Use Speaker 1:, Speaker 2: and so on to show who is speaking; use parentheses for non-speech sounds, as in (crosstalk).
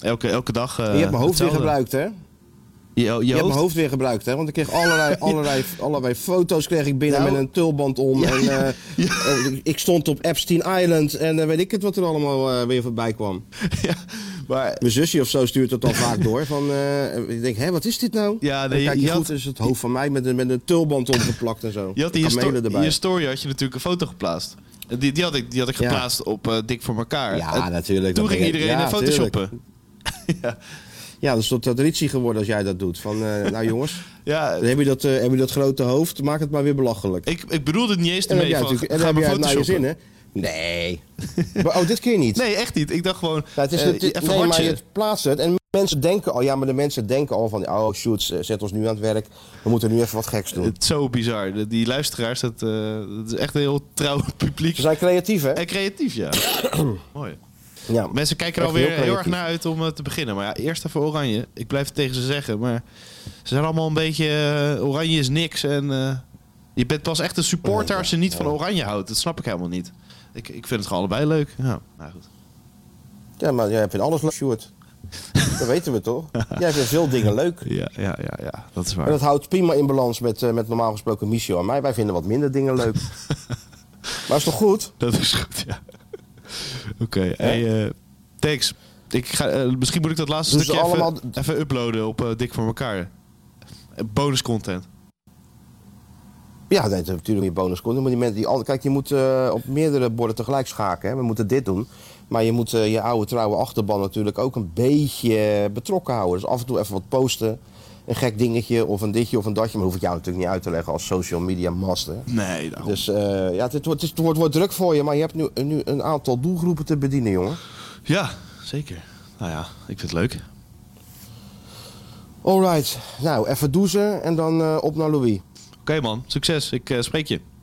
Speaker 1: Elke, elke dag. eh,
Speaker 2: je hebt mijn hoofd weer
Speaker 1: hetzelfde.
Speaker 2: gebruikt, hè?
Speaker 1: Je, je,
Speaker 2: Je hebt
Speaker 1: hoofd?
Speaker 2: mijn hoofd weer gebruikt, hè? Want ik kreeg
Speaker 1: (laughs)
Speaker 2: allerlei, allerlei, allerlei foto's kreeg ik binnen
Speaker 1: Nou.
Speaker 2: met een tulband om.
Speaker 1: Ja,
Speaker 2: en,
Speaker 1: ja,
Speaker 2: eh, eh, ik stond op Epstein Island en eh, weet ik het wat er allemaal eh, weer voorbij
Speaker 1: (laughs)
Speaker 2: kwam.
Speaker 1: ja, maar
Speaker 2: Mijn zusje of zo stuurt het dan vaak door. Van, eh, ik denk, hé, wat is dit nou?
Speaker 1: Ja,
Speaker 2: Dan
Speaker 1: nee, je-
Speaker 2: kijk je,
Speaker 1: je
Speaker 2: goed,
Speaker 1: had-
Speaker 2: is het hoofd van mij met een, met een tulband omgeplakt en zo.
Speaker 1: je had in je,
Speaker 2: Kamelen
Speaker 1: sto- in
Speaker 2: erbij.
Speaker 1: je story had je natuurlijk een foto geplaatst. En Die, die, had, ik, die had ik
Speaker 2: Ja.
Speaker 1: geplaatst op eh, Dik voor elkaar.
Speaker 2: Ja,
Speaker 1: En
Speaker 2: natuurlijk,
Speaker 1: Toen
Speaker 2: dat
Speaker 1: ging
Speaker 2: ben ik-
Speaker 1: iedereen
Speaker 2: ja,
Speaker 1: eh, photoshoppen. (laughs) ja,
Speaker 2: Ja, dat is tot traditie geworden als jij dat doet. Van, eh,
Speaker 1: (laughs)
Speaker 2: nou jongens,
Speaker 1: ja
Speaker 2: dan heb je, dat, eh, heb je dat grote hoofd, maak het maar weer belachelijk.
Speaker 1: ik, ik bedoelde het niet eens
Speaker 2: en dan heb
Speaker 1: ermee
Speaker 2: jij,
Speaker 1: van,
Speaker 2: natuurlijk- en
Speaker 1: ga
Speaker 2: dan heb
Speaker 1: maar
Speaker 2: jij het naar je
Speaker 1: photoshoppen.
Speaker 2: zin, hè? Nee. (laughs) maar, oh, dit keer niet.
Speaker 1: Nee, echt niet. Ik dacht gewoon,
Speaker 2: Ja, het is
Speaker 1: eh,
Speaker 2: het,
Speaker 1: even
Speaker 2: nee, maar
Speaker 1: hartje.
Speaker 2: je plaatst het en mensen denken al, ja, maar de mensen denken al van, oh shoot, zet ons nu aan het werk. We moeten nu even wat geks doen.
Speaker 1: Het is zo bizar. De- Die luisteraars, dat, eh, dat is echt een heel trouw (laughs) publiek.
Speaker 2: Ze zijn creatief, hè?
Speaker 1: En creatief,
Speaker 2: (clears throat)
Speaker 1: ja. Mooi.
Speaker 2: Ja.
Speaker 1: Mensen kijken er
Speaker 2: Echt
Speaker 1: alweer
Speaker 2: heel
Speaker 1: heel, erg
Speaker 2: creatief.
Speaker 1: naar uit om eh, te beginnen. Maar ja, eerst even Oranje. Ik blijf het tegen ze zeggen, maar ze zijn allemaal een beetje... eh, oranje is niks en eh, je bent pas echt een supporter als je niet van Oranje houdt. Dat snap ik helemaal niet. Ik, ik vind het gewoon allebei leuk. Ja, nou goed.
Speaker 2: ja, maar jij vindt alles leuk, Sjoerd. dat weten we toch? Jij vindt veel dingen leuk.
Speaker 1: Ja, ja, ja, ja, dat is
Speaker 2: En
Speaker 1: waar.
Speaker 2: dat houdt prima in balans met, eh, met normaal gesproken Michio en mij. Wij vinden wat minder dingen leuk. maar is toch goed?
Speaker 1: Dat is goed, ja. (laughs) Oké, hey, eh, thanks. Ik ga, eh, misschien moet ik dat laatste
Speaker 2: Dus
Speaker 1: stukje even,
Speaker 2: allemaal-
Speaker 1: even uploaden op eh, Dik voor elkaar. Bonus content.
Speaker 2: Ja, nee, dat- natuurlijk je bonus komt. Maar die mensen die al, kijk, je moet eh, op meerdere borden tegelijk schaken. Hè. We moeten dit doen. Maar je moet eh, je oude trouwe achterban natuurlijk ook een beetje betrokken houden. Dus af en toe even wat posten. Een gek dingetje of een ditje of een datje. Maar hoef ik jou natuurlijk niet uit te leggen als social media master.
Speaker 1: Nee, nou,
Speaker 2: Dus eh, ja, het wordt, het wordt, wordt druk voor je. Maar je hebt nu, nu een aantal doelgroepen te bedienen, jongen.
Speaker 1: Ja, zeker. Nou ja, ik vind het leuk.
Speaker 2: Alright. Nou, even douchen en dan eh, op naar Louis.
Speaker 1: Oké man, succes. Ik eh, spreek je.